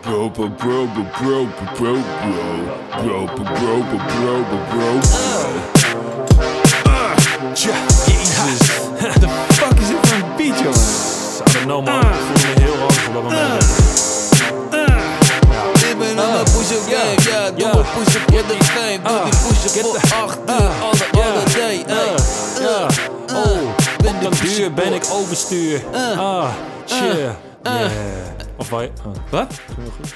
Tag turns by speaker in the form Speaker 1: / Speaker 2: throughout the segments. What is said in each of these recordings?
Speaker 1: Bro, bro, bro, bro, bro, bro, bro, bro, bro, bro, bro, bro,
Speaker 2: Jezus. The fuck is dit voor een beat, jongen?
Speaker 3: I don't know man, ik voel me heel hoog op dat moment.
Speaker 4: Ik ben
Speaker 2: Uh,
Speaker 4: aan mijn push-up game, ja, doe mijn push-up in de game Doe die push-up voor acht
Speaker 2: uh,
Speaker 3: Eh.
Speaker 4: uur, alle, alle day, ey
Speaker 3: Ja, oh,
Speaker 4: Ben
Speaker 3: op dat
Speaker 4: de
Speaker 3: duur
Speaker 4: push-up
Speaker 3: ben
Speaker 4: boy.
Speaker 3: ik overstuur. Ah, chill. Yeah. Of wij... ah,
Speaker 2: Wat?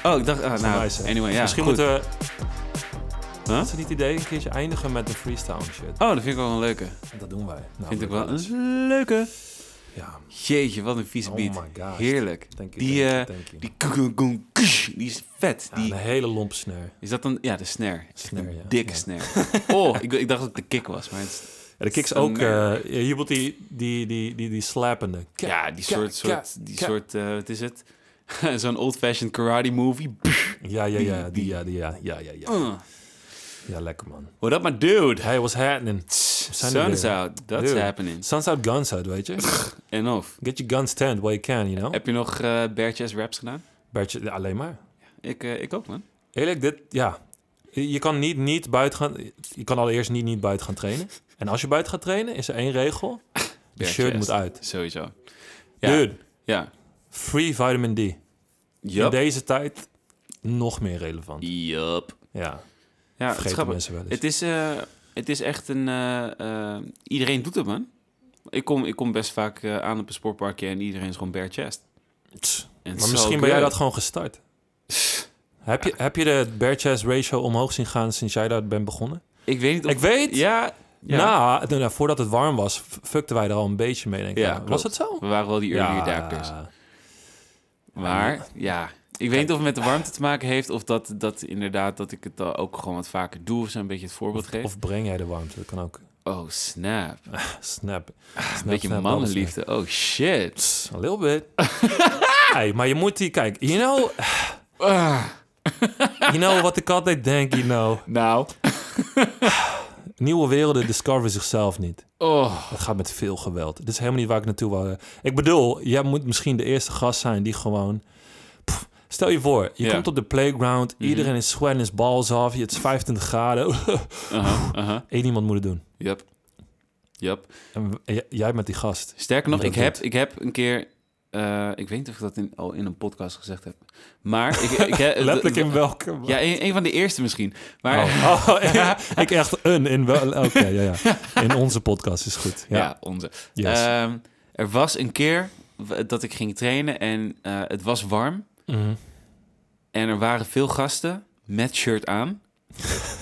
Speaker 2: Oh, ik dacht, ah, nou,
Speaker 3: nice, hè.
Speaker 2: anyway, ja,
Speaker 3: Misschien
Speaker 2: goed.
Speaker 3: moeten we...
Speaker 2: Huh?
Speaker 3: Is het niet het idee een keertje eindigen met een freestyle shit?
Speaker 2: Oh, dat vind ik wel een leuke.
Speaker 3: Dat doen wij. Nou,
Speaker 2: Vind ik wel
Speaker 3: leuk.
Speaker 2: een leuke.
Speaker 3: Ja,
Speaker 2: Jeetje, wat een vieze
Speaker 3: Oh
Speaker 2: beat.
Speaker 3: my gosh.
Speaker 2: Heerlijk.
Speaker 3: thank you,
Speaker 2: Die,
Speaker 3: thank
Speaker 2: eh,
Speaker 3: you, thank you.
Speaker 2: die koekoe koe- kush, die is vet.
Speaker 3: Ja,
Speaker 2: Die,
Speaker 4: uh.
Speaker 3: een hele lomp snare.
Speaker 2: is dat dan, ja, de snare. Echt
Speaker 3: Snare,
Speaker 2: een
Speaker 3: ja.
Speaker 2: dikke
Speaker 3: Ja.
Speaker 2: snare. Oh, ik, ik dacht dat het de kick was, maar het is-
Speaker 3: Ja, de kicks
Speaker 2: Snare.
Speaker 3: ook... eh hier wordt die, die, die, die, die slappende.
Speaker 2: ja, die soort,
Speaker 3: ka-
Speaker 2: soort, die
Speaker 3: ka-
Speaker 2: soort, eh, wat is het? Zo'n old-fashioned karate movie.
Speaker 3: Ja, ja, ja, die, ja, die, ja, ja, ja, ja.
Speaker 2: Uh,
Speaker 3: Ja, lekker man.
Speaker 2: What up, my dude?
Speaker 3: Hey, what's happening? zijn er
Speaker 2: Sun's
Speaker 3: weer.
Speaker 2: out, that's
Speaker 3: Dude.
Speaker 2: happening.
Speaker 3: Suns out, guns out, weet je?
Speaker 2: En of.
Speaker 3: Get your guns tanned where you can, you know?
Speaker 2: Heb je nog eh bear chest raps gedaan?
Speaker 3: Bertje, ja, alleen maar.
Speaker 2: Ik, eh, ik ook, man.
Speaker 3: Eerlijk, dit, ja. Je je kan niet niet buiten gaan... Je kan allereerst niet niet buiten gaan trainen. En als je buiten gaat trainen, is er één regel. De
Speaker 2: Bare
Speaker 3: shirt
Speaker 2: chest.
Speaker 3: moet uit.
Speaker 2: Sowieso. Ja.
Speaker 3: Dude,
Speaker 2: Ja.
Speaker 3: free vitamin D. In
Speaker 2: Yup.
Speaker 3: deze tijd nog meer relevant.
Speaker 2: Yup.
Speaker 3: Ja,
Speaker 2: Ja, het is
Speaker 3: vergeten
Speaker 2: grappig.
Speaker 3: mensen wel eens.
Speaker 2: Het is, eh, het is echt een... eh, eh, iedereen doet het, man. Ik kom, ik kom best vaak eh, aan op een sportparkje en iedereen is gewoon bare chest.
Speaker 3: Tss.
Speaker 2: En
Speaker 3: Maar
Speaker 2: so
Speaker 3: misschien ben jij
Speaker 2: good.
Speaker 3: dat gewoon gestart. Heb je, heb je de bear chest ratio omhoog zien gaan sinds jij daar bent begonnen?
Speaker 2: Ik weet niet of...
Speaker 3: Ik weet,
Speaker 2: Ja, ja.
Speaker 3: na, nou, voordat het warm was, f- fuckten wij er al een beetje mee. Denk ik.
Speaker 2: Ja,
Speaker 3: Nou, was
Speaker 2: klopt.
Speaker 3: het zo?
Speaker 2: we waren wel die early adapters. Maar ja, ik weet niet of het met de warmte te maken heeft... of dat, dat inderdaad dat ik het al ook gewoon wat vaker doe... of zo een beetje het voorbeeld geef.
Speaker 3: Of breng jij de warmte? Dat kan ook.
Speaker 2: oh, snap.
Speaker 3: Snap.
Speaker 2: Een beetje mannenliefde. Oh, shit.
Speaker 3: Een little bit. hey, maar je moet die... Kijk, you know...
Speaker 2: Ah.
Speaker 3: you know wat ik altijd denk, you know.
Speaker 2: Nou.
Speaker 3: Nieuwe werelden discoveren zichzelf niet.
Speaker 2: Oh,
Speaker 3: Het gaat met veel geweld. Dit is helemaal niet waar ik naartoe wou. Ik bedoel, jij moet misschien de eerste gast zijn die gewoon... Pff, stel je voor, je
Speaker 2: Ja. Mhm.
Speaker 3: komt op de playground. Iedereen is sweating his balls off. Het is 25 graden.
Speaker 2: Uh-huh, aha, aha.
Speaker 3: Eén iemand moet het doen.
Speaker 2: Yep. Yep.
Speaker 3: En w- j- jij met die gast.
Speaker 2: Sterker nog,
Speaker 3: Die
Speaker 2: ik
Speaker 3: dat
Speaker 2: heb,
Speaker 3: doet.
Speaker 2: ik heb een keer... eh, ik weet niet of ik dat in, al in een podcast gezegd heb. Maar ik, ik heb...
Speaker 3: Letterlijk in welke...
Speaker 2: Ja, een, een van de eerste misschien. Maar
Speaker 3: Oh, oh, ik echt een in wel. Oké, ja, ja. In onze podcast is goed.
Speaker 2: ja.
Speaker 3: Ja.
Speaker 2: onze.
Speaker 3: Yes.
Speaker 2: Ehm, er was een keer w- dat ik ging trainen en eh, het was warm.
Speaker 3: Mhm.
Speaker 2: En er waren veel gasten met shirt aan.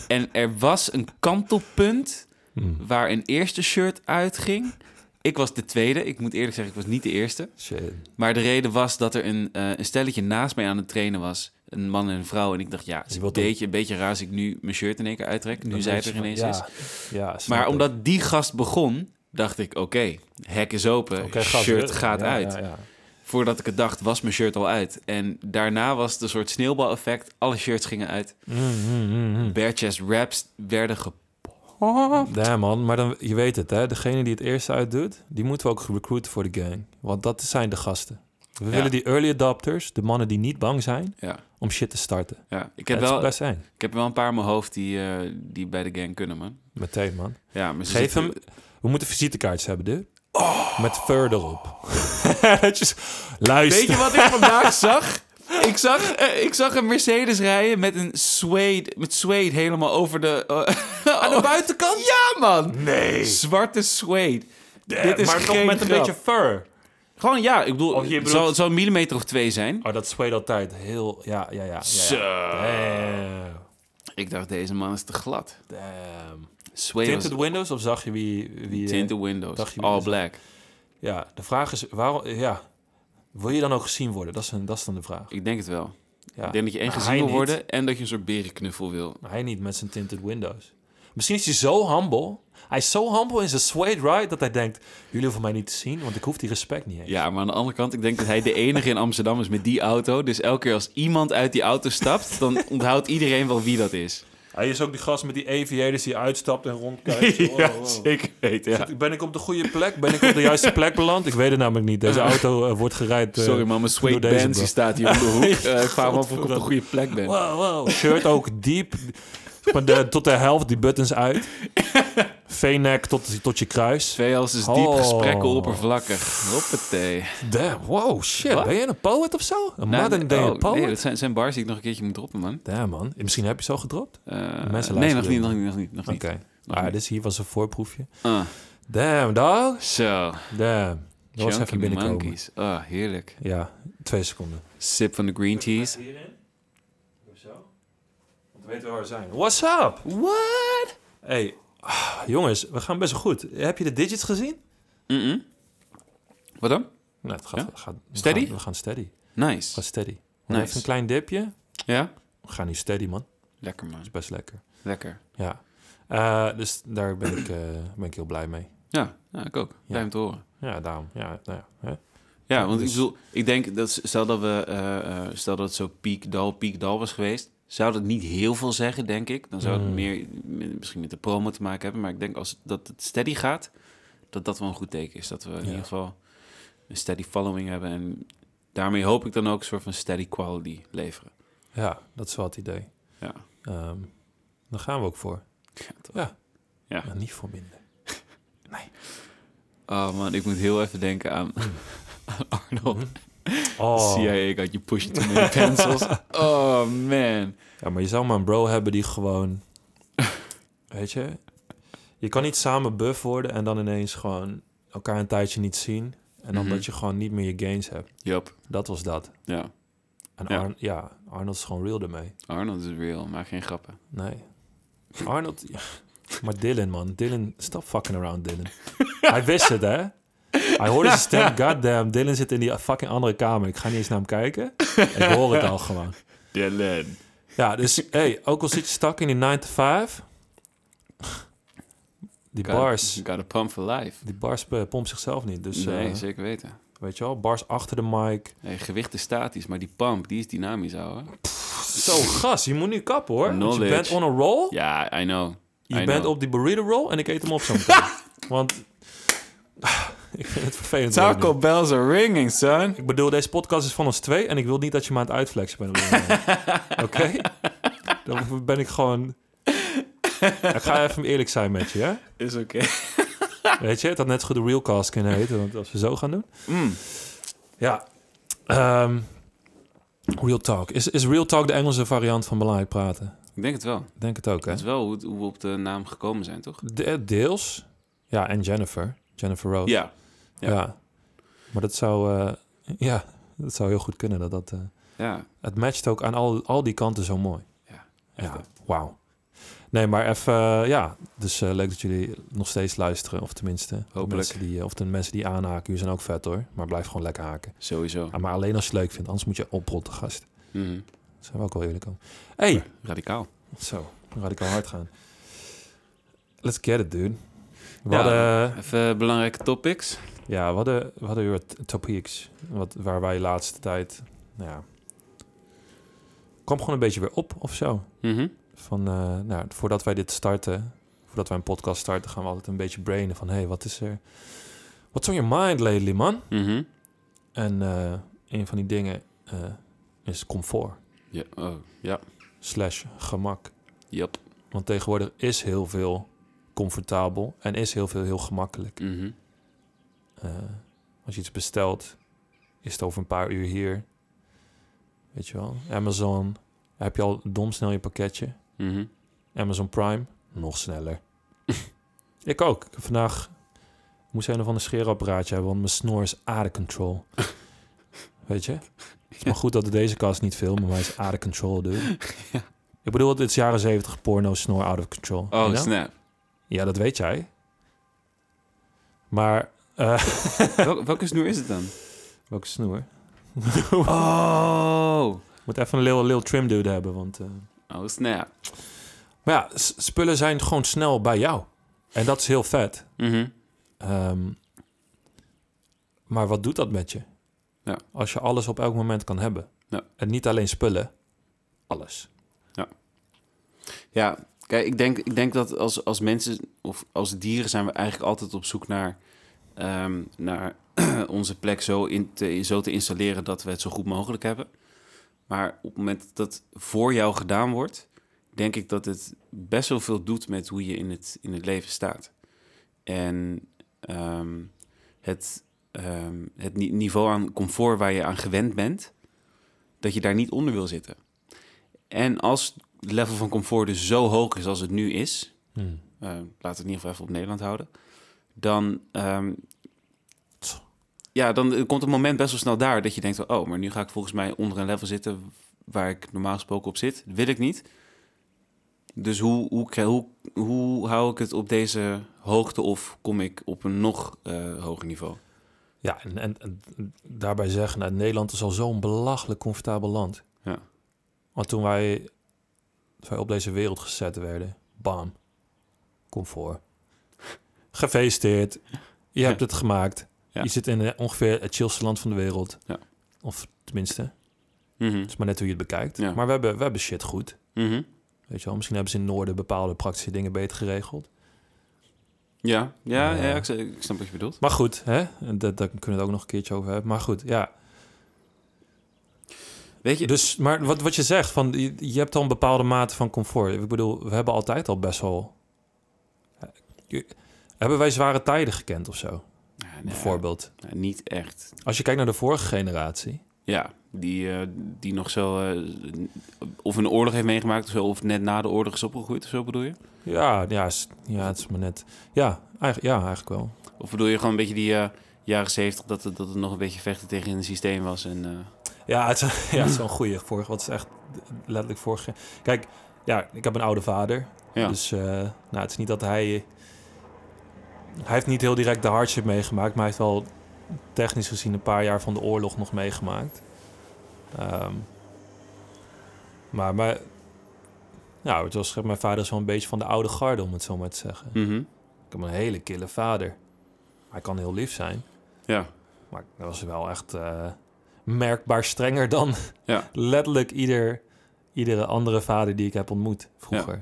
Speaker 2: en er was een kantelpunt
Speaker 3: Mm.
Speaker 2: waar een eerste shirt uitging. Ik was de tweede. Ik moet eerlijk zeggen, ik was niet de eerste.
Speaker 3: Shit.
Speaker 2: Maar de reden was dat er een, eh, een stelletje naast mij aan het trainen was. Een man en een vrouw. En ik dacht, ja, het is
Speaker 3: Die
Speaker 2: een
Speaker 3: wil toch-
Speaker 2: beetje, een beetje raar als ik nu mijn shirt in één keer uittrek. Nu
Speaker 3: Dan
Speaker 2: zij
Speaker 3: weet
Speaker 2: het
Speaker 3: je
Speaker 2: er
Speaker 3: van-
Speaker 2: ineens
Speaker 3: ja.
Speaker 2: is.
Speaker 3: Ja, snap
Speaker 2: Maar
Speaker 3: ik.
Speaker 2: omdat die gast begon, dacht ik, oké, hek is open,
Speaker 3: Oké, gaat
Speaker 2: shirt
Speaker 3: weer.
Speaker 2: gaat
Speaker 3: Ja,
Speaker 2: uit.
Speaker 3: ja, ja.
Speaker 2: Voordat ik het dacht, was mijn shirt al uit. En daarna was het een soort sneeuwbaleffect. Alle shirts gingen uit.
Speaker 3: Mm, mm, mm, mm.
Speaker 2: Bare chest raps werden ge...
Speaker 3: Ja, man, maar dan, je weet het, hè? Degene die het eerst uitdoet, die moeten we ook recruiten voor de gang. Want dat zijn de gasten. We willen die early adopters, de mannen die niet bang zijn
Speaker 2: Ja,
Speaker 3: om shit te starten.
Speaker 2: ja. Ik,
Speaker 3: Dat
Speaker 2: heb
Speaker 3: is
Speaker 2: wel,
Speaker 3: best eng.
Speaker 2: ik heb wel een paar in mijn hoofd die, eh, die bij de gang kunnen, man.
Speaker 3: Meteen, man.
Speaker 2: Ja, maar ze
Speaker 3: Geef
Speaker 2: zitten-
Speaker 3: hem... We moeten visitekaartjes hebben, dude. Met further op. Oh. Dat je z- Luister.
Speaker 2: Weet je wat ik vandaag zag? Ik zag, eh, ik zag een Mercedes rijden met een suede, met suede helemaal over de... Aan de buitenkant? Ja, man! Nee! Zwarte suede. Dit is
Speaker 3: maar toch
Speaker 2: geen
Speaker 3: met een
Speaker 2: grap.
Speaker 3: beetje fur.
Speaker 2: Gewoon, ja, ik bedoel,
Speaker 3: Oh, je
Speaker 2: het
Speaker 3: bedoelt-
Speaker 2: zal, het zal een millimeter of twee zijn.
Speaker 3: Oh, dat zweet altijd. Heel, ja, ja, ja. ja.
Speaker 2: Zo.
Speaker 3: Damn.
Speaker 2: Ik dacht, deze man is te glad.
Speaker 3: Damn.
Speaker 2: Suede
Speaker 3: Tinted windows of zag je wie... wie eh,
Speaker 2: Tinted windows.
Speaker 3: dacht je
Speaker 2: All
Speaker 3: wel.
Speaker 2: black.
Speaker 3: Ja, de vraag is, waarom... Ja, wil je dan ook gezien worden? Dat is, een, dat is dan de vraag.
Speaker 2: Ik denk het wel.
Speaker 3: Ja.
Speaker 2: Ik denk dat je en
Speaker 3: Maar
Speaker 2: gezien
Speaker 3: hij
Speaker 2: wil
Speaker 3: niet.
Speaker 2: worden en dat je een soort berenknuffel wil.
Speaker 3: Maar hij niet met zijn tinted windows. Misschien is hij zo humble. Hij is zo humble in zijn suede ride dat hij denkt... Jullie hoeven mij niet te zien, want ik hoef die respect niet eens.
Speaker 2: Ja, maar aan de andere kant, ik denk dat hij de enige in Amsterdam is met die auto. Dus elke keer als iemand uit die auto stapt, dan onthoudt iedereen wel wie dat is.
Speaker 3: Hij is ook die gast met die aviators die uitstapt en rondkijkt. Oh,
Speaker 2: ja,
Speaker 3: oh.
Speaker 2: zeker weten. Ja.
Speaker 3: Ben ik op de goede plek? Ben ik op de juiste plek beland? Ik weet het namelijk niet. Deze auto eh, wordt gerijd. eh,
Speaker 2: Sorry man, mijn sweet
Speaker 3: door deze
Speaker 2: Benz
Speaker 3: bro.
Speaker 2: die staat hier om de hoek. Eh, ik vraag me af of ik op de goede plek ben.
Speaker 3: Wow, wow. Shirt ook diep. Maar de, tot de helft die buttons uit. V-neck tot, tot je kruis.
Speaker 2: Tweehals is diep,
Speaker 3: Oh.
Speaker 2: gesprekken oppervlakkig. Hoppatee.
Speaker 3: Damn, wow, shit.
Speaker 2: Wat?
Speaker 3: Ben jij een poet of zo? Een
Speaker 2: Nou,
Speaker 3: modern day
Speaker 2: oh,
Speaker 3: poet?
Speaker 2: Nee, dat zijn, zijn bars die ik nog een keertje moet droppen, man.
Speaker 3: Damn, man. Misschien heb je zo gedropt?
Speaker 2: Eh,
Speaker 3: luisteren
Speaker 2: nee, nog
Speaker 3: dit.
Speaker 2: niet, nog niet, nog niet. Nog
Speaker 3: Oké.
Speaker 2: niet.
Speaker 3: Ah, dus hier was een voorproefje.
Speaker 2: Ah,
Speaker 3: Damn, dog.
Speaker 2: Zo,
Speaker 3: Damn. Dat was
Speaker 2: Chunky
Speaker 3: even binnenkomen.
Speaker 2: Monkeys. Ah, heerlijk.
Speaker 3: Ja, twee seconden.
Speaker 2: Sip van de green teas.
Speaker 3: Want we weten wel waar we zijn. What's up?
Speaker 2: What?
Speaker 3: Hey, ah, jongens, we gaan best wel goed. Heb je de digits gezien?
Speaker 2: Mm-mm. Wat dan?
Speaker 3: Nou, het gaat...
Speaker 2: Ja?
Speaker 3: gaat we
Speaker 2: Steady?
Speaker 3: gaan- we gaan steady. We gaan
Speaker 2: Nice.
Speaker 3: steady. We
Speaker 2: Nice.
Speaker 3: hebben Even een klein dipje.
Speaker 2: Ja?
Speaker 3: We gaan nu steady, man. Dat
Speaker 2: Lekker, man.
Speaker 3: is best lekker.
Speaker 2: Lekker.
Speaker 3: Ja. Eh, dus daar ben ik, eh, ben ik heel blij mee.
Speaker 2: Ja, ja ik ook. Blij om te horen.
Speaker 3: Ja, daarom. Ja, nou ja. Hè?
Speaker 2: Ja, want
Speaker 3: dus-
Speaker 2: ik bedoel, ik denk dat s- stel dat we, eh, eh, stel dat het zo piek dal, piek dal was geweest, zou dat niet heel veel zeggen, denk ik. Dan zou het
Speaker 3: Mm.
Speaker 2: meer m- misschien met de promo te maken hebben, maar ik denk als het, dat het steady gaat, dat dat wel een goed teken is. Dat we in ieder geval een steady following hebben en daarmee hoop ik dan ook een soort van steady quality leveren.
Speaker 3: ja, dat is wel het idee.
Speaker 2: Ja,
Speaker 3: Ehm, daar gaan we ook voor. Ja.
Speaker 2: Ja.
Speaker 3: Maar niet voor minder.
Speaker 2: oh man, ik moet heel even denken aan, aan Arnold.
Speaker 3: Oh.
Speaker 2: CIA, ik had je pushing too many pencils. Oh man.
Speaker 3: Ja, maar je zou maar een bro hebben die gewoon... weet je? Je kan niet samen buff worden en dan ineens gewoon elkaar een tijdje niet zien. En dan
Speaker 2: Mhm.
Speaker 3: dat je gewoon niet meer je gains hebt.
Speaker 2: Yup.
Speaker 3: Dat was dat.
Speaker 2: Ja,
Speaker 3: En
Speaker 2: Ja.
Speaker 3: Arn- ja, Arnold is gewoon real ermee.
Speaker 2: Arnold is real, maar geen grappen.
Speaker 3: Nee. Arnold... ja. Maar Dylan, man. Dylan, stop fucking around, Dylan. Hij wist het, hè? Hij hoorde zijn stem. Goddamn, Dylan zit in die fucking andere kamer. Ik ga niet eens naar hem kijken. Ik hoor het al gewoon.
Speaker 2: Dylan.
Speaker 3: Ja, dus hey, ook al zit je stak in die 9 to 5. Die
Speaker 2: Gotta-
Speaker 3: bars,
Speaker 2: Gotta pump for life.
Speaker 3: die bars eh, pompt zichzelf niet. Dus
Speaker 2: nee,
Speaker 3: eh,
Speaker 2: zeker weten.
Speaker 3: weet je wel, bars achter de mic.
Speaker 2: Nee, gewicht is statisch, maar die pump, die is dynamisch, ouwe.
Speaker 3: Zo, gas, je moet nu kappen hoor. Want Je
Speaker 2: Knowledge.
Speaker 3: bent on a roll.
Speaker 2: Ja, I know.
Speaker 3: je
Speaker 2: I
Speaker 3: bent
Speaker 2: know.
Speaker 3: op die burrito roll en ik eet hem op zo'n keer. Want ah, ik vind het vervelend. worden nu.
Speaker 2: bells are ringing, son.
Speaker 3: Ik bedoel, deze podcast is van ons twee en ik wil niet dat je me aan het uitflexen bent. op dit moment. Oké? Dan ben ik gewoon... Ik ga even eerlijk zijn met je, hè?
Speaker 2: Is oké.
Speaker 3: Weet je, het had net zo goed de Realcast kunnen heten, want als we zo gaan doen.
Speaker 2: Mm.
Speaker 3: Ja. Ehm, real Talk. Is, is Real Talk de Engelse variant van belangrijk praten?
Speaker 2: Ik denk het wel.
Speaker 3: Ik denk het ook, hè?
Speaker 2: Dat is wel hoe, het- hoe we op de naam gekomen zijn, toch?
Speaker 3: De- eh, deels. Ja, en Jennifer. Jennifer Rose.
Speaker 2: Ja. ja.
Speaker 3: Maar dat zou... eh, ja, dat zou heel goed kunnen. Dat dat, eh,
Speaker 2: Ja.
Speaker 3: het matcht ook aan al, al die kanten zo mooi.
Speaker 2: Ja, echt,
Speaker 3: Ja, wauw. Nee, maar even... eh, ja, dus eh, leuk dat jullie nog steeds luisteren. Of tenminste,
Speaker 2: Hopelijk.
Speaker 3: De mensen die, eh, of de mensen die aanhaken. Jullie zijn ook vet, hoor. Maar blijf gewoon lekker haken.
Speaker 2: Sowieso.
Speaker 3: Ah, maar alleen als je het leuk vindt, anders moet je oprotten, gast.
Speaker 2: Mhm.
Speaker 3: Daar zijn we ook wel eerlijk om. Hey,
Speaker 2: Radicaal.
Speaker 3: zo, dan had ik al hard gaan. Let's get it, dude. We
Speaker 2: Ja.
Speaker 3: hadden,
Speaker 2: Even belangrijke topics.
Speaker 3: ja, we hadden, we hadden weer wat topics, wat, waar wij de laatste tijd, nou ja, kwam gewoon een beetje weer op of zo.
Speaker 2: Mhm.
Speaker 3: Van, eh, nou, voordat wij dit starten, voordat wij een podcast starten, gaan we altijd een beetje brainen van, hey, wat is er, what's on your mind lately, man?
Speaker 2: Mhm.
Speaker 3: En eh, een van die dingen eh, is comfort
Speaker 2: Ja. Oh, ja.
Speaker 3: slash gemak.
Speaker 2: Yep.
Speaker 3: Want tegenwoordig is heel veel comfortabel en is heel veel heel gemakkelijk.
Speaker 2: Mhm.
Speaker 3: Eh, als je iets bestelt, is het over een paar uur hier. Weet je wel, Amazon, heb je al domsnel je pakketje.
Speaker 2: Mhm.
Speaker 3: Amazon Prime, nog sneller. ik ook. Ik heb Vandaag moest een of ander scheerapparaatje hebben, want mijn snor is aardecontrol. Weet je? Het is maar goed dat we deze kast niet filmen, maar hij is aardecontrol, dude. Ik bedoel, dit is jaren 70 porno, snor out of control. You
Speaker 2: Oh,
Speaker 3: know?
Speaker 2: snap.
Speaker 3: Ja, dat weet jij. Maar, eh
Speaker 2: Welke, welke snoer is het dan?
Speaker 3: welke snoer?
Speaker 2: Oh.
Speaker 3: Moet even een lil, lil trim dude hebben, want... eh,
Speaker 2: Oh, snap.
Speaker 3: Maar ja, s- spullen zijn gewoon snel bij jou. En dat is heel vet.
Speaker 2: Mhm.
Speaker 3: Ehm, maar wat doet dat met je?
Speaker 2: Ja.
Speaker 3: Als je alles op elk moment kan hebben.
Speaker 2: Ja.
Speaker 3: En niet alleen spullen, alles.
Speaker 2: Ja. Ja, kijk, ik denk, ik denk dat als, als mensen of als dieren zijn we eigenlijk altijd op zoek naar, ehm, naar onze plek zo, in te, zo te installeren dat we het zo goed mogelijk hebben. Maar op het moment dat het voor jou gedaan wordt, denk ik dat het best wel veel doet met hoe je in het, in het leven staat. En ehm, het, ehm, het ni- niveau aan comfort waar je aan gewend bent, dat je daar niet onder wil zitten. En als het level van comfort dus zo hoog is als het nu is,
Speaker 3: Hm.
Speaker 2: eh, laten we het in ieder geval even op Nederland houden, dan, ehm, ja, dan eh, komt het moment best wel snel daar dat je denkt, van, oh, maar nu ga ik volgens mij onder een level zitten waar ik normaal gesproken op zit. Dat wil ik niet. Dus hoe, hoe, kri- hoe, hoe hou ik het op deze hoogte of kom ik op een nog eh, hoger niveau?
Speaker 3: Ja, en, en, en daarbij zeggen, nou, Nederland is al zo'n belachelijk comfortabel land.
Speaker 2: Ja.
Speaker 3: Want toen wij, toen wij op deze wereld gezet werden, bam, comfort. Gefeliciteerd, je hebt het gemaakt.
Speaker 2: Ja.
Speaker 3: Je zit in eh, ongeveer het chillste land van de wereld.
Speaker 2: Ja.
Speaker 3: Of tenminste, het
Speaker 2: Mhm,
Speaker 3: is maar net hoe je het bekijkt.
Speaker 2: Ja.
Speaker 3: Maar we hebben, we hebben shit goed.
Speaker 2: mhm.
Speaker 3: Weet je wel, misschien hebben ze in het noorden bepaalde praktische dingen beter geregeld.
Speaker 2: Ja, ja,
Speaker 3: Ja.
Speaker 2: ja ik, s- ik snap wat je bedoelt.
Speaker 3: Maar goed, hè? Dat, daar kunnen we het ook nog een keertje over hebben. Maar goed, ja.
Speaker 2: Weet je,
Speaker 3: Dus, maar wat, wat je zegt, van, je, je hebt al een bepaalde mate van comfort. Ik bedoel, we hebben altijd al best wel... eh, Je- Hebben wij zware tijden gekend of zo,
Speaker 2: Ja, nee,
Speaker 3: bijvoorbeeld?
Speaker 2: nou, niet echt.
Speaker 3: Als je kijkt naar de vorige generatie.
Speaker 2: Ja, die, eh, die nog zo eh, of een oorlog heeft meegemaakt of zo, of net na de oorlog is opgegroeid of zo bedoel je?
Speaker 3: Ja, ja, is- ja het is maar net... Ja, eigenlijk, ja, eigenlijk wel.
Speaker 2: Of bedoel je gewoon een beetje die eh, jaren zeventig dat het, dat het nog een beetje vechten tegen een systeem was en... eh,
Speaker 3: Ja, het is, ja, het is wel een goeie. Vorige, wat is echt letterlijk vorige... Kijk, ja, ik heb een oude vader.
Speaker 2: ja.
Speaker 3: Dus eh, nou, het is niet dat hij... Hij heeft niet heel direct de hardship meegemaakt, maar hij heeft wel technisch gezien een paar jaar van de oorlog nog meegemaakt. Ehm, maar, maar nou, het was, mijn vader is wel een beetje van de oude garde, om het zo maar te zeggen.
Speaker 2: Mhm.
Speaker 3: Ik heb een hele kille vader. Hij kan heel lief zijn,
Speaker 2: ja.
Speaker 3: maar dat was wel echt eh, merkbaar strenger dan
Speaker 2: Ja.
Speaker 3: letterlijk ieder, iedere andere vader die ik heb ontmoet vroeger.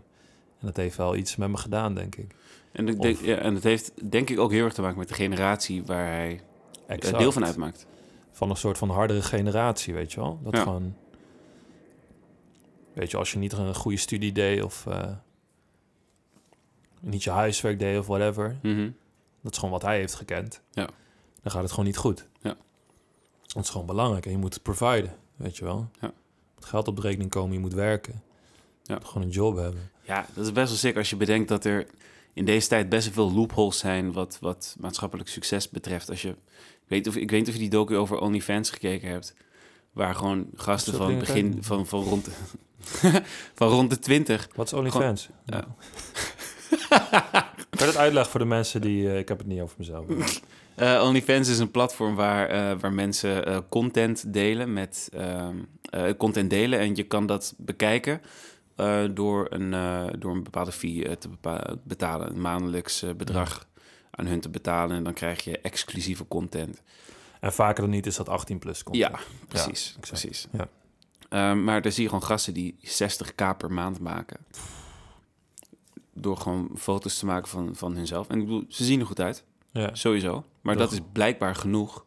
Speaker 3: En dat heeft wel iets met me gedaan, denk ik.
Speaker 2: En, ik
Speaker 3: Of-
Speaker 2: denk, ja, en het heeft denk ik ook heel erg te maken met de generatie waar hij eh,
Speaker 3: Exact.
Speaker 2: deel van uitmaakt.
Speaker 3: Van een soort van hardere generatie, weet je wel. Dat
Speaker 2: Ja.
Speaker 3: gewoon... Weet je, als je niet een goede studie deed of... eh, niet je huiswerk deed of whatever.
Speaker 2: Mhm.
Speaker 3: Dat is gewoon wat hij heeft gekend.
Speaker 2: Ja.
Speaker 3: Dan gaat het gewoon niet goed.
Speaker 2: Ja.
Speaker 3: Dat is gewoon belangrijk. En je moet het providen, weet je wel.
Speaker 2: Ja.
Speaker 3: Er moet geld op de rekening komen, je moet werken. Je
Speaker 2: Ja.
Speaker 3: moet gewoon een job hebben.
Speaker 2: Ja, dat is best wel sick als je bedenkt dat er in deze tijd best wel veel loopholes zijn wat, wat maatschappelijk succes betreft. Als je, ik, weet of, ik weet niet of je die docu over OnlyFans gekeken hebt, waar gewoon gasten
Speaker 3: dat
Speaker 2: van
Speaker 3: dingen
Speaker 2: begin
Speaker 3: kijken?
Speaker 2: van, van, rond de, van rond de 20.
Speaker 3: Wat is OnlyFans? Nou.
Speaker 2: Ja.
Speaker 3: Kan je dat uitleggen voor de mensen die... eh, ik heb het niet over mezelf.
Speaker 2: Eh, OnlyFans is een platform waar, eh, waar mensen eh, content delen met ehm, eh, content delen en je kan dat bekijken eh, door, een, eh, door een bepaalde fee eh, te bepa- betalen, een maandelijks eh, bedrag aan hun te betalen en dan krijg je exclusieve content.
Speaker 3: En vaker dan niet is dat 18 plus content.
Speaker 2: Ja, precies,
Speaker 3: exact.
Speaker 2: precies.
Speaker 3: Ja.
Speaker 2: Ehm, maar daar zie je gewoon gasten die 60k per maand maken. Door gewoon foto's te maken van, van hunzelf. En ik bedoel, ze zien er goed uit.
Speaker 3: Ja.
Speaker 2: Sowieso. Maar
Speaker 3: Toch.
Speaker 2: dat is blijkbaar genoeg.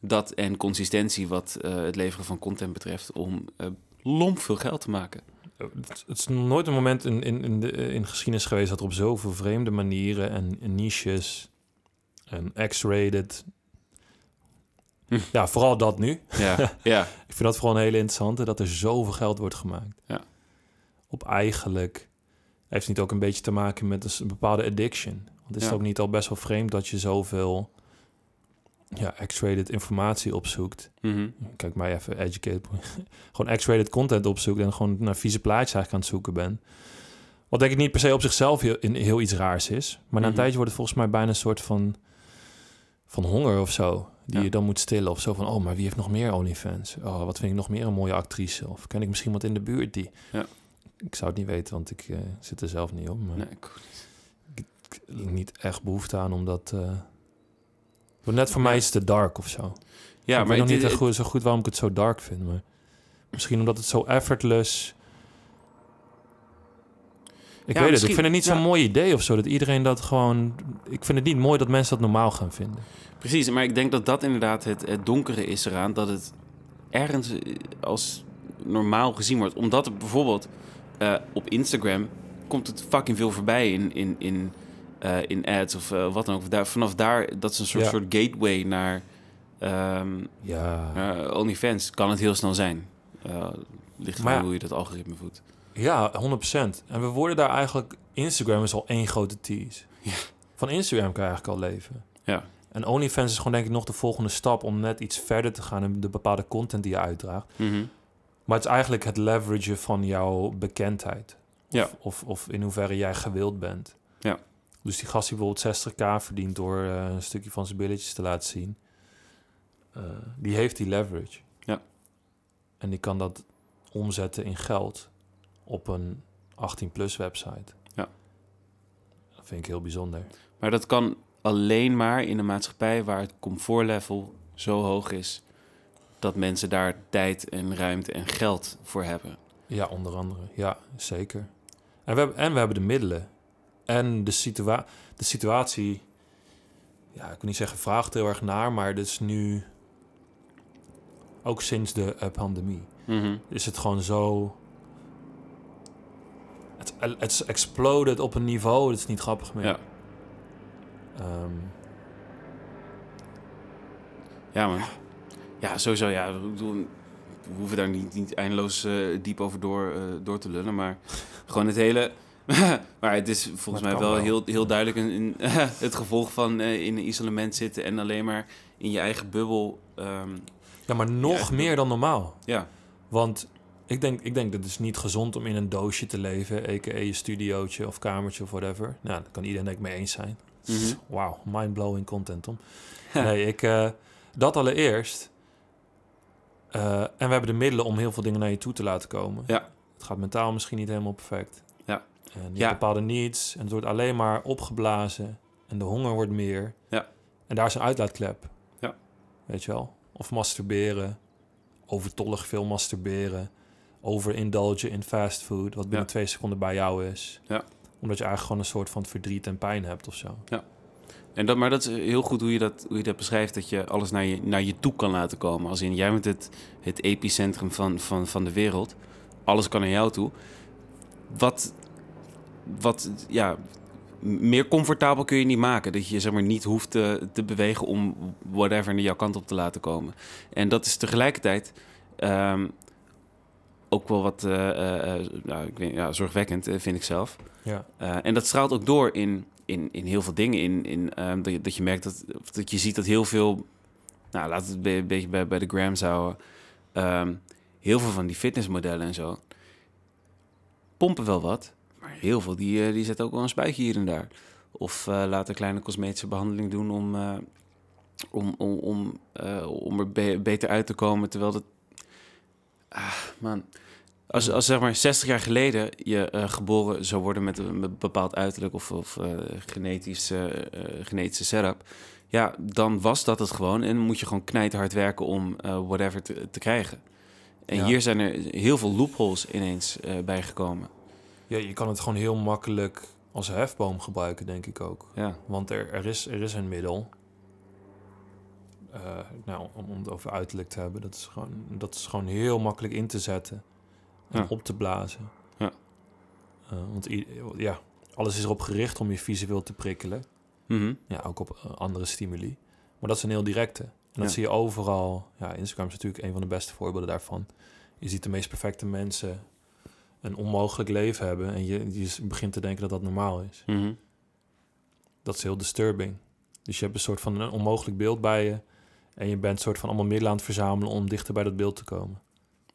Speaker 2: Dat en consistentie wat eh, het leveren van content betreft om eh lomp veel geld te maken.
Speaker 3: Het, het is nog nooit een moment in, in, in, de, eh, in geschiedenis geweest dat er op zoveel vreemde manieren en, en niches en X-rated.
Speaker 2: Hm.
Speaker 3: Ja, vooral dat nu.
Speaker 2: Ja, ja,
Speaker 3: Ik vind dat vooral een hele interessante, dat er zoveel geld wordt gemaakt.
Speaker 2: Ja.
Speaker 3: Op eigenlijk heeft het niet ook een beetje te maken met een s- een bepaalde addiction. Want is
Speaker 2: Ja.
Speaker 3: het ook niet al best wel vreemd dat je zoveel ja, X-rated informatie opzoekt?
Speaker 2: Mhm.
Speaker 3: kijk maar even educate. gewoon X-rated content opzoekt en gewoon naar vieze plaatjes eigenlijk aan het zoeken ben. Wat denk ik niet per se op zichzelf heel, in, heel iets raars is. Maar na een
Speaker 2: Mhm.
Speaker 3: tijdje wordt het volgens mij bijna een soort van, van honger of zo. Die
Speaker 2: Ja.
Speaker 3: je dan moet stillen. Of zo van, oh, maar wie heeft nog meer OnlyFans? Oh, wat vind ik nog meer een mooie actrice? Of ken ik misschien wat in de buurt die...
Speaker 2: Ja.
Speaker 3: Ik zou het niet weten, want ik eh, zit er zelf niet op. Maar
Speaker 2: Nee, ik-
Speaker 3: ik- niet echt behoefte aan, omdat... eh, maar net voor mij is het te dark of zo. Ja,
Speaker 2: ja
Speaker 3: ik
Speaker 2: maar
Speaker 3: weet nog
Speaker 2: dit-
Speaker 3: niet echt
Speaker 2: dit-
Speaker 3: goed, zo goed waarom ik het zo dark vind. Maar misschien omdat het zo effortless Ik weet
Speaker 2: Ja,
Speaker 3: het, ik
Speaker 2: misschien-
Speaker 3: vind het niet zo'n
Speaker 2: ja.
Speaker 3: mooi idee of zo. Dat iedereen dat gewoon... Ik vind het niet mooi dat mensen dat normaal gaan vinden.
Speaker 2: Precies, maar ik denk dat dat inderdaad het, het donkere is eraan. Dat het ergens eh, als normaal gezien wordt. Omdat er bijvoorbeeld eh, op Instagram komt het fucking veel voorbij in, in, in, eh, in ads of eh, wat dan ook. Daar, vanaf daar, dat is een soort,
Speaker 3: Ja.
Speaker 2: soort gateway naar ehm,
Speaker 3: Ja.
Speaker 2: eh, OnlyFans. Kan het heel snel zijn. Eh, ligt
Speaker 3: Maar
Speaker 2: aan
Speaker 3: ja.
Speaker 2: hoe je dat algoritme voedt.
Speaker 3: Ja, 100%. En we worden daar eigenlijk... Instagram is al één grote tease.
Speaker 2: Ja.
Speaker 3: Van Instagram kan je eigenlijk al leven.
Speaker 2: Ja.
Speaker 3: En OnlyFans is gewoon denk ik nog de volgende stap... om net iets verder te gaan in de bepaalde content die je uitdraagt.
Speaker 2: Mhm.
Speaker 3: Maar het is eigenlijk het leveragen van jouw bekendheid. Of,
Speaker 2: Ja.
Speaker 3: of, of in hoeverre jij gewild bent.
Speaker 2: Ja.
Speaker 3: Dus die gast die bijvoorbeeld 60k verdient... door eh, een stukje van zijn billetjes te laten zien... eh, die heeft die leverage.
Speaker 2: Ja.
Speaker 3: En die kan dat omzetten in geld op een 18-plus website.
Speaker 2: Ja.
Speaker 3: Dat vind ik heel bijzonder.
Speaker 2: Maar dat kan alleen maar in een maatschappij waar het comfortlevel zo hoog is dat mensen daar tijd en ruimte en geld voor hebben.
Speaker 3: Ja, onder andere. Ja, zeker. En we hebben, en we hebben de middelen. En de, situa de situatie... Ja, ik wil niet zeggen vraagt heel erg naar, maar dit is nu... Ook sinds de eh, pandemie is het gewoon zo... Het, het is exploded op een niveau, dat is niet grappig meer.
Speaker 2: Ja.
Speaker 3: Ehm,
Speaker 2: Ja, man. Ja, sowieso. Ja, Ik bedoel, we hoeven daar niet, niet eindeloos eh, diep over door, eh, door te lullen, maar gewoon het hele. maar het is
Speaker 3: Maar het
Speaker 2: volgens mij
Speaker 3: kan
Speaker 2: wel,
Speaker 3: wel.
Speaker 2: Heel, heel duidelijk een, een- het gevolg van eh, in een isolement zitten en alleen maar in je eigen bubbel. ehm,
Speaker 3: ja, maar nog
Speaker 2: echt.
Speaker 3: meer dan normaal.
Speaker 2: ja,
Speaker 3: Want ik denk, ik denk dat het is niet gezond om in een doosje te leven, a.k.a. je studiootje of kamertje of whatever. Nou, daar kan iedereen denk ik mee eens zijn.
Speaker 2: Mhm.
Speaker 3: Wauw, mindblowing content, Tom. Nee, ik, eh, dat allereerst. Eh, en we hebben de middelen om heel veel dingen naar je toe te laten komen.
Speaker 2: Ja.
Speaker 3: Het gaat mentaal misschien niet helemaal perfect.
Speaker 2: Ja.
Speaker 3: En je hebt
Speaker 2: Ja.
Speaker 3: bepaalde needs. En het wordt alleen maar opgeblazen. En de honger wordt meer.
Speaker 2: Ja.
Speaker 3: En daar is een uitlaatklep.
Speaker 2: Ja.
Speaker 3: Weet je wel? Of masturberen. Overtollig veel masturberen. Overindulgen in fastfood. Wat binnen
Speaker 2: Ja.
Speaker 3: twee seconden bij jou is.
Speaker 2: Ja.
Speaker 3: Omdat je eigenlijk gewoon een soort van verdriet en pijn hebt of zo.
Speaker 2: En dat, maar dat is eh, heel goed hoe je dat, hoe je dat beschrijft, dat je alles naar je, naar je toe kan laten komen. Als in, jij bent het, het epicentrum van, van, van de wereld. Alles kan naar jou toe. Wat, wat, ja, m- meer comfortabel kun je niet maken. Dat je zeg maar niet hoeft te, te bewegen om whatever naar jouw kant op te laten komen. En dat is tegelijkertijd ehm, ook wel wat, eh, eh, eh, nou, ik weet, ja, zorgwekkend, eh, vind ik zelf.
Speaker 3: Ja.
Speaker 2: Eh, en dat straalt ook door in, in, in heel veel dingen. In, in, ehm, dat, je, dat je merkt dat, of dat je ziet dat heel veel. Nou, laten we het be- een beetje bij, bij de Grams houden. Ehm, heel veel van die fitnessmodellen en zo. pompen wel wat. Maar heel veel die, eh, die zetten ook wel een spuitje hier en daar. Of eh, laten een kleine cosmetische behandeling doen om, eh, om, om, om, eh, om er be- beter uit te komen. Terwijl dat. Ah, man. Als, als zeg maar 60 jaar geleden je eh, geboren zou worden met een be- bepaald uiterlijk of, of eh, genetisch, eh, eh, genetische setup, ja, dan was dat het gewoon. En moet je gewoon knijthard werken om eh, whatever te, te krijgen. En
Speaker 3: Ja.
Speaker 2: hier zijn er heel veel loopholes ineens eh, bijgekomen.
Speaker 3: Ja, je kan het gewoon heel makkelijk als hefboom gebruiken, denk ik ook.
Speaker 2: Ja.
Speaker 3: Want er, er, is, er is een middel. Eh, nou, om, om het over uiterlijk te hebben, dat is gewoon, dat is gewoon heel makkelijk in te zetten en
Speaker 2: Ja.
Speaker 3: op te blazen.
Speaker 2: Ja.
Speaker 3: Eh, want i- ja, alles is erop gericht om je visueel te prikkelen.
Speaker 2: Mhm.
Speaker 3: Ja, ook op eh, andere stimuli. Maar dat is een heel directe. En dat
Speaker 2: Ja.
Speaker 3: zie je overal. Ja, Instagram is natuurlijk een van de beste voorbeelden daarvan. Je ziet de meest perfecte mensen een onmogelijk leven hebben. En je, je s- begint te denken dat dat normaal is.
Speaker 2: Mhm.
Speaker 3: Dat is heel disturbing. Dus je hebt een soort van een onmogelijk beeld bij je. En je bent soort van allemaal middelen aan het verzamelen om dichter bij dat beeld te komen.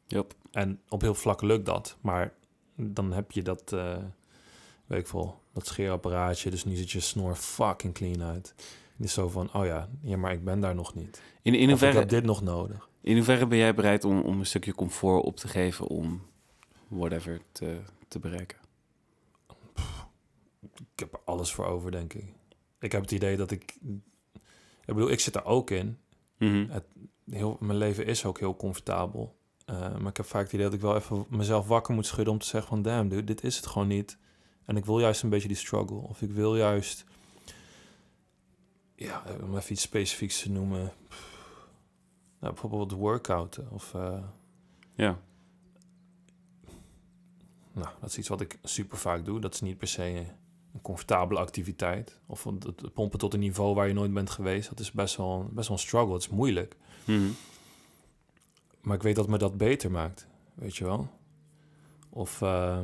Speaker 2: Yup.
Speaker 3: En op heel vlak lukt dat. Maar dan heb je dat, eh weet ik veel, dat scheerapparaatje. Dus nu ziet je snor fucking clean uit. Het is zo van, oh ja, ja, maar ik ben daar nog niet.
Speaker 2: In, in,
Speaker 3: In of ik
Speaker 2: hoeverre,
Speaker 3: heb dit nog nodig.
Speaker 2: in hoeverre ben jij bereid om, om een stukje comfort op te geven om whatever te, te bereiken?
Speaker 3: Ik heb er alles voor over, denk ik. Ik heb het idee dat ik... Ik bedoel, ik zit er ook in.
Speaker 2: Mhm.
Speaker 3: heel, mijn leven is ook heel comfortabel. Eh, maar ik heb vaak het idee dat ik wel even mezelf wakker moet schudden om te zeggen van... damn dude, dit is het gewoon niet. En ik wil juist een beetje die struggle. Of ik wil juist... Ja, eh, om even iets specifieks te noemen. Nou, bijvoorbeeld workouten. Of... eh,
Speaker 2: Ja.
Speaker 3: Nou, dat is iets wat ik super vaak doe. Dat is niet per se een comfortabele activiteit. Of het- het pompen tot een niveau waar je nooit bent geweest. Dat is best wel, best wel een struggle. Het is moeilijk.
Speaker 2: Mhm.
Speaker 3: Maar ik weet dat me dat beter maakt. Weet je wel? Of. eh,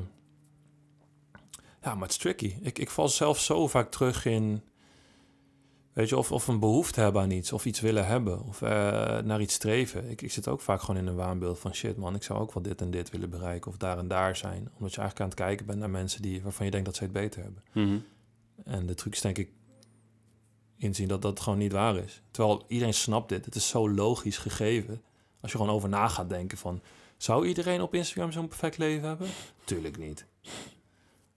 Speaker 3: ja, maar het is tricky. Ik, ik val zelf zo vaak terug in. Weet je, of, of een behoefte hebben aan iets. Of iets willen hebben. Of eh, naar iets streven. Ik, ik zit ook vaak gewoon in een waanbeeld van shit, man. Ik zou ook wel dit en dit willen bereiken. Of daar en daar zijn. Omdat je eigenlijk aan het kijken bent naar mensen die, waarvan je denkt dat zij het beter hebben.
Speaker 2: Mhm.
Speaker 3: En de truc is denk ik inzien dat dat gewoon niet waar is. Terwijl iedereen snapt dit. Het is zo logisch gegeven. Als je gewoon over na gaat denken van... zou iedereen op Instagram zo'n perfect leven hebben? Tuurlijk niet.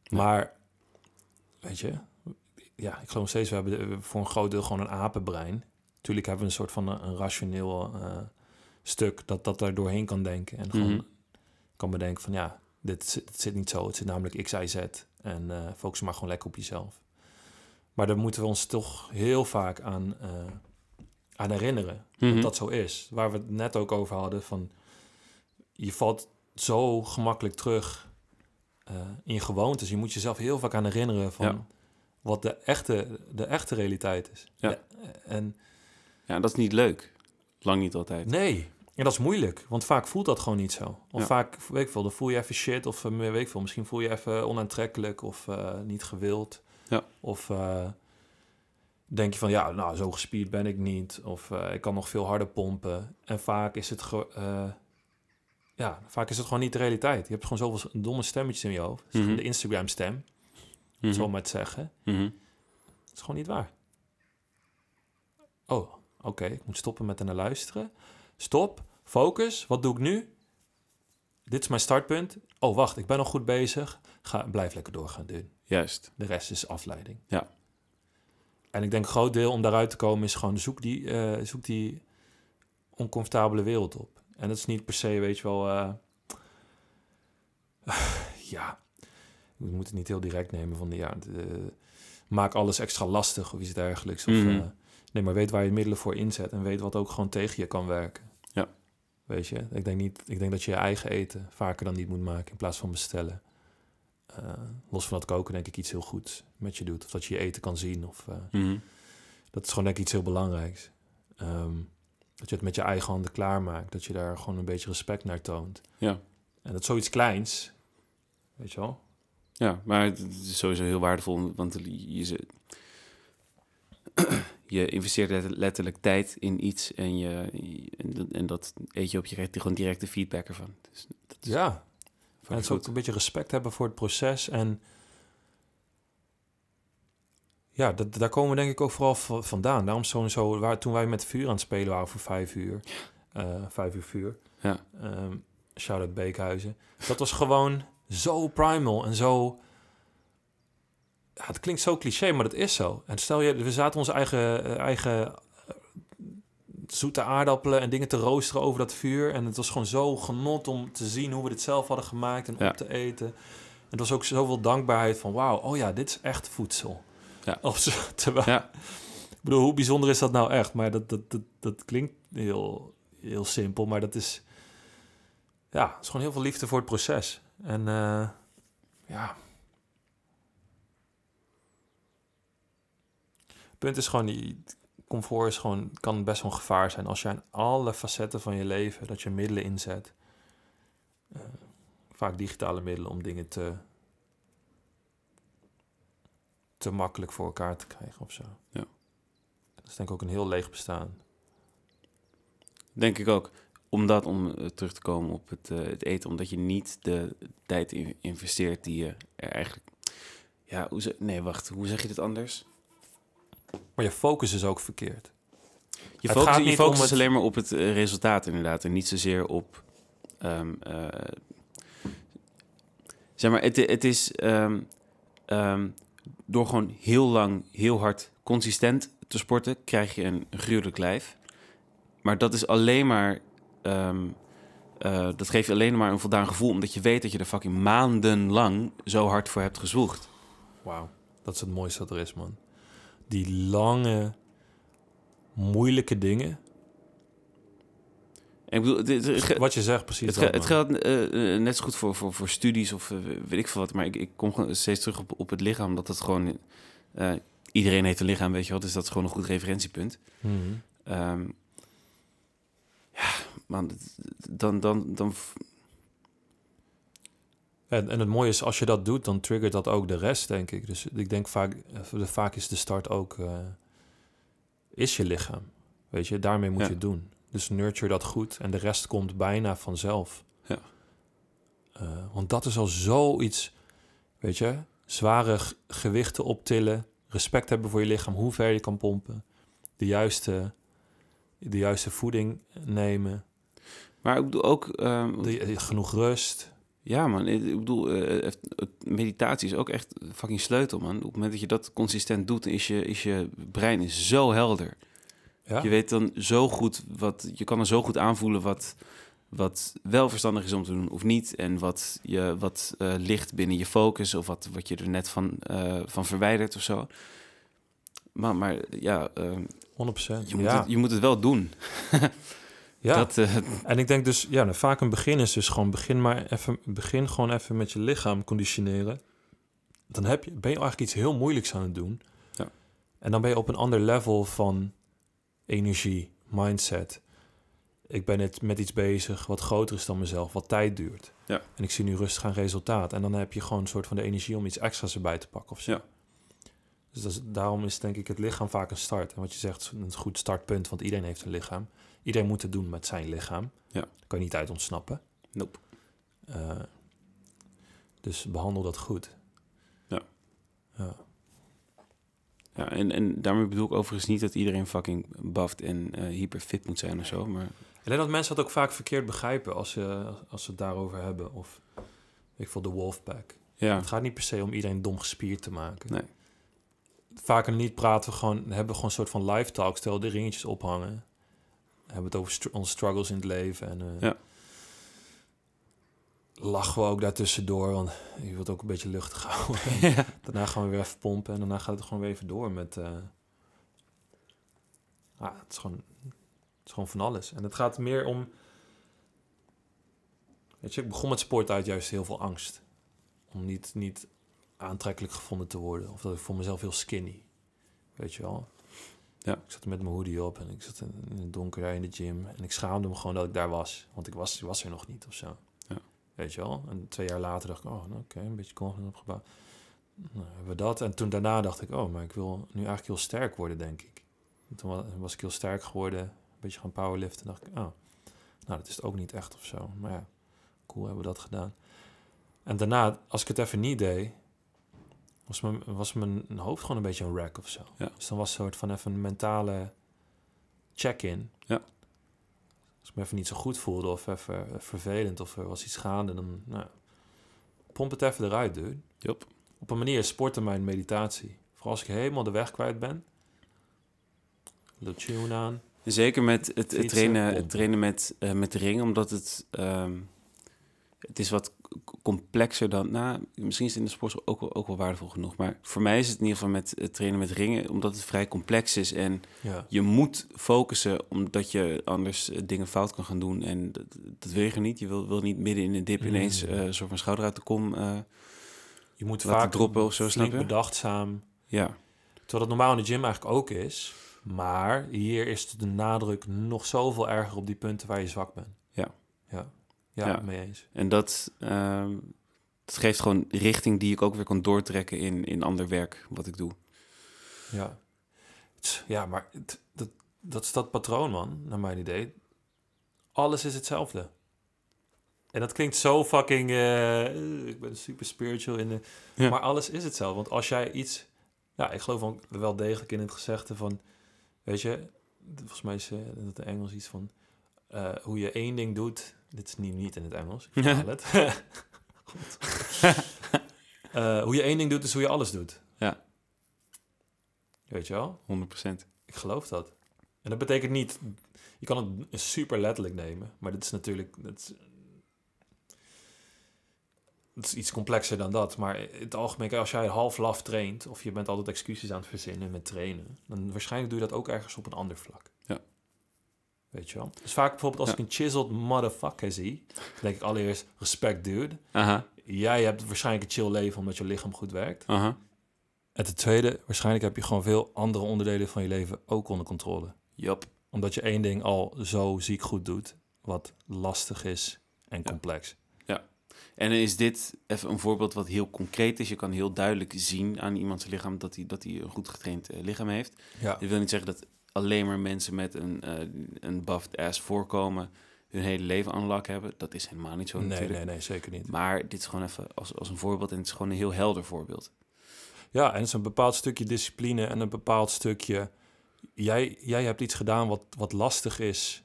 Speaker 3: Maar, weet je... Ja, ik geloof nog steeds, we hebben de- voor een groot deel gewoon een apenbrein. Tuurlijk hebben we een soort van een, een rationeel eh, stuk... dat dat daar doorheen kan denken. En gewoon
Speaker 2: Mhm.
Speaker 3: kan bedenken van ja, dit, zit- het zit niet zo. Het zit namelijk X, Y, Z. En eh, focus maar gewoon lekker op jezelf. Maar daar moeten we ons toch heel vaak aan, eh, aan herinneren.
Speaker 2: Mhm.
Speaker 3: Dat dat zo is. Waar we het net ook over hadden van... Je valt zo gemakkelijk terug eh, in je gewoontes. Je moet jezelf heel vaak aan herinneren van...
Speaker 2: Ja.
Speaker 3: wat de echte, de echte realiteit is.
Speaker 2: Ja.
Speaker 3: De- en
Speaker 2: Ja, dat is niet leuk. Lang niet altijd.
Speaker 3: Nee. En dat is moeilijk, want vaak voelt dat gewoon niet zo. Of
Speaker 2: Ja.
Speaker 3: vaak, weet ik veel, dan voel je even shit of eh, meer weet ik veel. Misschien voel je even onaantrekkelijk of eh, niet gewild.
Speaker 2: Ja.
Speaker 3: Of eh, denk je van, ja, nou, zo gespierd ben ik niet. Of eh, ik kan nog veel harder pompen. En vaak is het ge- eh, ja, vaak is het gewoon niet de realiteit. Je hebt gewoon zoveel s- domme stemmetjes in je hoofd. Het is gewoon
Speaker 2: Mhm.
Speaker 3: De Instagram-stem, om
Speaker 2: Mhm.
Speaker 3: het zo maar te zeggen.
Speaker 2: Mhm.
Speaker 3: Het is gewoon niet waar. Oh, oké. Ik moet stoppen met naar luisteren. Stop. Focus. Wat doe ik nu? Dit is mijn startpunt. Oh, wacht. Ik ben nog goed bezig. Ga, blijf lekker doorgaan doen.
Speaker 2: Juist.
Speaker 3: De rest is afleiding.
Speaker 2: Ja.
Speaker 3: En ik denk een groot deel om daaruit te komen is gewoon zoek die, eh, zoek die oncomfortabele wereld op. En dat is niet per se, weet je wel... eh, ja, we moeten het niet heel direct nemen van... Ja, de- maak alles extra lastig of iets dergelijks. Of,
Speaker 2: Mhm.
Speaker 3: eh, nee, maar weet waar je middelen voor inzet en weet wat ook gewoon tegen je kan werken.
Speaker 2: Ja.
Speaker 3: Weet je, ik denk, niet, ik denk dat je je eigen eten vaker dan niet moet maken in plaats van bestellen. Eh, los van dat koken denk ik iets heel goeds met je doet. Of dat je je eten kan zien. Of, eh,
Speaker 2: Mhm.
Speaker 3: dat is gewoon denk ik iets heel belangrijks. Ehm, dat je het met je eigen handen klaarmaakt. Dat je daar gewoon een beetje respect naar toont.
Speaker 2: Ja.
Speaker 3: En dat is zoiets kleins. Weet je wel?
Speaker 2: Ja, maar het is sowieso heel waardevol, want je, ze- je investeert let- letterlijk tijd in iets en, je, en, dat- en dat eet je op je recht, gewoon directe feedback ervan. Dus dat is
Speaker 3: Ja.
Speaker 2: fucking
Speaker 3: En het is
Speaker 2: goed.
Speaker 3: ook een beetje respect hebben voor het proces. En ja, dat, daar komen we denk ik ook vooral v- vandaan. Daarom zo, zo waar, toen wij met vuur aan het spelen waren voor vijf uur. eh, vijf uur vuur.
Speaker 2: Ja.
Speaker 3: Ehm, Shout-out Beekhuizen. Dat was gewoon zo primal en zo... Ja, het klinkt zo cliché, maar dat is zo. En stel je, we zaten onze eigen, eh, eigen eh, zoete aardappelen en dingen te roosteren over dat vuur. En het was gewoon zo genot om te zien hoe we dit zelf hadden gemaakt en
Speaker 2: Ja.
Speaker 3: op te eten. En het was ook zoveel dankbaarheid van, wauw, oh ja, dit is echt voedsel.
Speaker 2: Ja.
Speaker 3: Of zo, terwijl,
Speaker 2: Ja.
Speaker 3: Ik bedoel, hoe bijzonder is dat nou echt? Maar dat, dat, dat, dat klinkt heel, heel simpel, maar dat is... Ja, het is gewoon heel veel liefde voor het proces. En eh, ja... Het punt is gewoon, die comfort is gewoon, kan best wel een gevaar zijn. Als je aan alle facetten van je leven, dat je middelen inzet. eh, vaak digitale middelen om dingen te... te makkelijk voor elkaar te krijgen of zo.
Speaker 2: Ja.
Speaker 3: Dat is denk ik ook een heel leeg bestaan.
Speaker 2: Denk ik ook. Omdat, om eh, terug te komen op het, eh, het eten, omdat je niet de tijd in- investeert die je er eigenlijk... Ja, hoe ze- nee, wacht, hoe zeg je dit anders?
Speaker 3: Maar je focus is ook verkeerd.
Speaker 2: Je
Speaker 3: Het
Speaker 2: focus,
Speaker 3: gaat
Speaker 2: je
Speaker 3: niet
Speaker 2: focus
Speaker 3: om
Speaker 2: is
Speaker 3: het-
Speaker 2: alleen maar op het eh, resultaat inderdaad. En niet zozeer op... ehm, eh, zeg maar, het, het is... ehm, ehm, door gewoon heel lang, heel hard, consistent te sporten... krijg je een gruwelijk lijf. Maar dat is alleen maar... ehm, eh, dat geeft je alleen maar een voldaan gevoel... omdat je weet dat je er fucking maandenlang zo hard voor hebt gezwoegd.
Speaker 3: Wauw, dat is het mooiste dat er is, man. Die lange, moeilijke dingen.
Speaker 2: En ik bedoel, dit- dit- ge-
Speaker 3: Wat je zegt, precies.
Speaker 2: het,
Speaker 3: dat,
Speaker 2: ge- het
Speaker 3: man.
Speaker 2: geldt eh, eh, net zo goed voor, voor, voor studies of eh, weet ik veel wat. Maar ik, ik kom gewoon steeds terug op, op het lichaam. Dat het gewoon... eh, iedereen heeft een lichaam, weet je wat. Dus dat is gewoon een goed referentiepunt.
Speaker 3: Mhm.
Speaker 2: Ehm, ja, man. dat- Dan, dan, dan...
Speaker 3: En, en het mooie is, als je dat doet, dan triggert dat ook de rest, denk ik. Dus ik denk vaak, eh, vaak is de start ook, eh, is je lichaam. Weet je, daarmee moet
Speaker 2: Ja.
Speaker 3: je het doen. Dus nurture dat goed en de rest komt bijna vanzelf.
Speaker 2: Ja.
Speaker 3: Eh, want dat is al zoiets, weet je, zware g- gewichten optillen, respect hebben voor je lichaam, hoe ver je kan pompen, de juiste, de juiste voeding nemen,
Speaker 2: Maar ik bedoel ook... ehm,
Speaker 3: de- eh, genoeg rust.
Speaker 2: Ja, man. Ik ik bedoel, eh, het- het- meditatie is ook echt fucking sleutel, man. Op het moment dat je dat consistent doet, is je, is je brein is zo helder.
Speaker 3: Ja?
Speaker 2: Je weet dan zo goed wat... Je kan er zo goed aanvoelen wat, wat wel verstandig is om te doen of niet. En wat, je, wat eh, ligt binnen je focus of wat, wat je er net van, eh, van verwijdert of zo. Maar, maar ja, eh,
Speaker 3: 100%.
Speaker 2: je, moet
Speaker 3: ja.
Speaker 2: het, je moet het wel doen.
Speaker 3: ja.
Speaker 2: Dat, eh,
Speaker 3: En ik denk dus, ja, nou, vaak een begin is dus gewoon begin maar even, begin gewoon even met je lichaam conditioneren. Dan heb je, ben je eigenlijk iets heel moeilijks aan het doen.
Speaker 2: Ja.
Speaker 3: En dan ben je op een ander level van energie, mindset. Ik ben het met iets bezig wat groter is dan mezelf, wat tijd duurt.
Speaker 2: Ja.
Speaker 3: En ik zie nu rustig aan resultaat. En dan heb je gewoon een soort van de energie om iets extra's erbij te pakken of zo.
Speaker 2: Ja.
Speaker 3: Dus dat is- daarom is denk ik het lichaam vaak een start. En wat je zegt, een goed startpunt, want iedereen heeft een lichaam. Iedereen moet het doen met zijn lichaam.
Speaker 2: Ja.
Speaker 3: Daar kan je niet uit ontsnappen.
Speaker 2: Nope.
Speaker 3: Eh, dus behandel dat goed.
Speaker 2: Ja.
Speaker 3: Ja.
Speaker 2: ja, en, en daarmee bedoel ik overigens niet dat iedereen fucking buffed en eh hyperfit moet zijn of zo. Maar
Speaker 3: Ik denk dat mensen dat ook vaak verkeerd begrijpen als ze, als ze het daarover hebben. Of ik voel de wolfpack.
Speaker 2: ja.
Speaker 3: Het gaat niet per se om iedereen dom gespierd te maken.
Speaker 2: Nee.
Speaker 3: Vaker dan niet praten we gewoon, hebben we gewoon een soort van live talk. Stel de ringetjes ophangen. We hebben het over str- onze struggles in het leven. En, eh,
Speaker 2: Ja.
Speaker 3: Lachen we ook daartussendoor, want je wilt ook een beetje luchtig houden.
Speaker 2: Ja.
Speaker 3: Daarna gaan we weer even pompen en daarna gaat het gewoon weer even door met... eh, ah, het, is gewoon, het is gewoon van alles. En het gaat meer om... Weet je, ik begon met sport uit juist heel veel angst. Om niet, niet aantrekkelijk gevonden te worden. Of dat ik voor mezelf heel skinny. Weet je wel?
Speaker 2: Ja.
Speaker 3: Ik zat met mijn hoodie op en ik zat in in het donker daar in de gym. En ik schaamde me gewoon dat ik daar was. Want ik was, was er nog niet of zo.
Speaker 2: Ja.
Speaker 3: Weet je wel? En twee jaar later dacht ik, oh, nou, oké, een beetje confident opgebouwd. Nou, hebben we dat. En toen daarna dacht ik, oh, maar ik wil nu eigenlijk heel sterk worden, denk ik. En toen wa- was ik heel sterk geworden, een beetje gaan powerliften. En dacht ik, oh, nou, dat is het ook niet echt of zo. Maar ja, cool, hebben we dat gedaan. En daarna, als ik het even niet deed, was mijn, was mijn hoofd gewoon een beetje een wreck of zo.
Speaker 2: Ja.
Speaker 3: Dus dan was een soort van even een mentale check-in.
Speaker 2: Ja.
Speaker 3: Als ik me even niet zo goed voelde of even eh, vervelend of er was iets gaande, dan nou, pomp het even eruit, dude.
Speaker 2: Yup.
Speaker 3: Op een manier is sporten mijn meditatie. Vooral als ik helemaal de weg kwijt ben. Little tune aan.
Speaker 2: Zeker met het, het
Speaker 3: Fietsen,
Speaker 2: trainen,
Speaker 3: pompen.
Speaker 2: het trainen met, eh, met de ring, omdat het, ehm, het is wat c- complexer dan... Nou, misschien is het in de sport ook wel, ook wel waardevol genoeg. Maar voor mij is het in ieder geval met het trainen met ringen, omdat het vrij complex is. En
Speaker 3: Ja.
Speaker 2: je moet focussen, omdat je anders eh, dingen fout kan gaan doen. En dat, dat wil je gewoon niet. Je wil, wil niet midden in de dip
Speaker 3: Mm.
Speaker 2: ineens eh, een soort van schouder uit de kom. eh,
Speaker 3: Je moet
Speaker 2: Laten
Speaker 3: vaak
Speaker 2: droppen of zo,
Speaker 3: flink
Speaker 2: snap je?
Speaker 3: bedachtzaam.
Speaker 2: ja,
Speaker 3: Terwijl dat normaal in de gym eigenlijk ook is. Maar hier is de nadruk nog zoveel erger op die punten waar je zwak bent.
Speaker 2: Ja.
Speaker 3: Ja, ja,
Speaker 2: Ja.
Speaker 3: mee eens.
Speaker 2: en dat... ehm, dat geeft gewoon richting die ik ook weer kan doortrekken in, in ander werk wat ik doe.
Speaker 3: Ja, Tss, ja maar het- dat, dat is dat patroon, man, naar mijn idee. Alles is hetzelfde. En dat klinkt zo fucking... eh, eh, ik ben super spiritual in de...
Speaker 2: Ja.
Speaker 3: Maar alles is hetzelfde. Want als jij iets... Ja, ik geloof wel- wel degelijk in het gezegde van... Weet je, volgens mij is eh, dat in Engels iets van... eh, hoe je één ding doet... Dit is niet, niet in het Engels, ik verhaal het. God. Eh, hoe je één ding doet, is hoe je alles doet.
Speaker 2: Ja.
Speaker 3: Weet je wel?
Speaker 2: 100%.
Speaker 3: Ik geloof dat. En dat betekent niet... Je kan het super letterlijk nemen. Maar dit is natuurlijk... Dat is- het is iets complexer dan dat. Maar in het algemeen, kijk, als jij half laf traint... of je bent altijd excuses aan het verzinnen met trainen... dan waarschijnlijk doe je dat ook ergens op een ander vlak.
Speaker 2: Ja.
Speaker 3: Weet je wel? Dus vaak bijvoorbeeld als
Speaker 2: Ja.
Speaker 3: ik een chiseled motherfucker zie... dan denk ik allereerst, respect dude.
Speaker 2: Aha,
Speaker 3: Jij hebt waarschijnlijk een chill leven omdat je lichaam goed werkt.
Speaker 2: aha.
Speaker 3: En ten tweede, waarschijnlijk heb je gewoon veel andere onderdelen van je leven ook onder controle.
Speaker 2: Jop.
Speaker 3: Omdat je één ding al zo ziek goed doet, wat lastig is en
Speaker 2: Ja.
Speaker 3: complex.
Speaker 2: En dan is dit even een voorbeeld wat heel concreet is. Je kan heel duidelijk zien aan iemands lichaam dat hij dat hij een goed getraind eh, lichaam heeft.
Speaker 3: Ja,
Speaker 2: Dit wil niet zeggen dat alleen maar mensen met een, eh een buffed ass voorkomen hun hele leven unlock hebben. Dat is helemaal niet zo
Speaker 3: nee,
Speaker 2: natuurlijk.
Speaker 3: nee, nee, zeker niet.
Speaker 2: Maar dit is gewoon even als, als een voorbeeld en het is gewoon een heel helder voorbeeld.
Speaker 3: Ja, en het is een bepaald stukje discipline en een bepaald stukje... Jij, jij hebt iets gedaan wat, wat lastig is,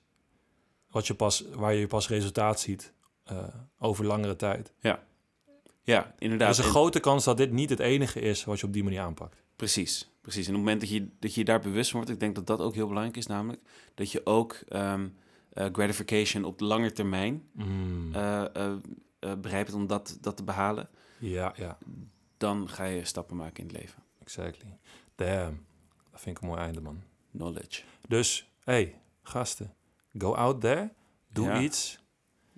Speaker 3: wat je pas, waar je pas resultaat ziet eh, over langere tijd.
Speaker 2: Ja,
Speaker 3: Er
Speaker 2: inderdaad.
Speaker 3: is een
Speaker 2: En-
Speaker 3: grote kans dat dit niet het enige is wat je op die manier aanpakt.
Speaker 2: Precies, precies. En op het moment dat je, dat je daar bewust van wordt, ik denk dat dat ook heel belangrijk is, namelijk dat je ook ehm, eh, gratification op de lange termijn
Speaker 3: Mm.
Speaker 2: eh, eh, eh, begrijpt om dat, dat te behalen.
Speaker 3: Ja, ja.
Speaker 2: Dan ga je stappen maken in het leven.
Speaker 3: Exactly. Damn. Dat vind ik een mooi einde, man.
Speaker 2: Knowledge.
Speaker 3: Dus, hey, gasten. Go out there. Doe
Speaker 2: Ja.
Speaker 3: iets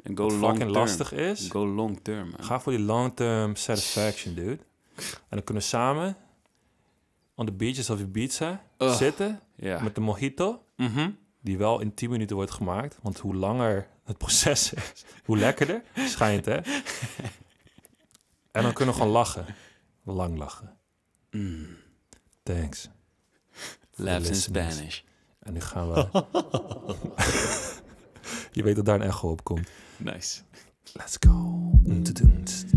Speaker 2: En go
Speaker 3: wat
Speaker 2: long
Speaker 3: fucking
Speaker 2: term.
Speaker 3: lastig is.
Speaker 2: Go long term. man.
Speaker 3: Ga voor die long-term satisfaction, dude. En dan kunnen we samen on the beaches of Ibiza
Speaker 2: Ugh.
Speaker 3: zitten
Speaker 2: Ja.
Speaker 3: met de mojito.
Speaker 2: Mhm.
Speaker 3: Die wel in 10 minuten wordt gemaakt. Want hoe langer het proces is, hoe lekkerder. Schijnt, hè? En dan kunnen we gewoon lachen. Lang lachen.
Speaker 2: Mm.
Speaker 3: Thanks.
Speaker 2: Laughs in
Speaker 3: listeners.
Speaker 2: Spanish.
Speaker 3: En nu gaan we. Je weet dat daar een echo op komt.
Speaker 2: Nice.
Speaker 3: Let's go. Mm, tudum, tst.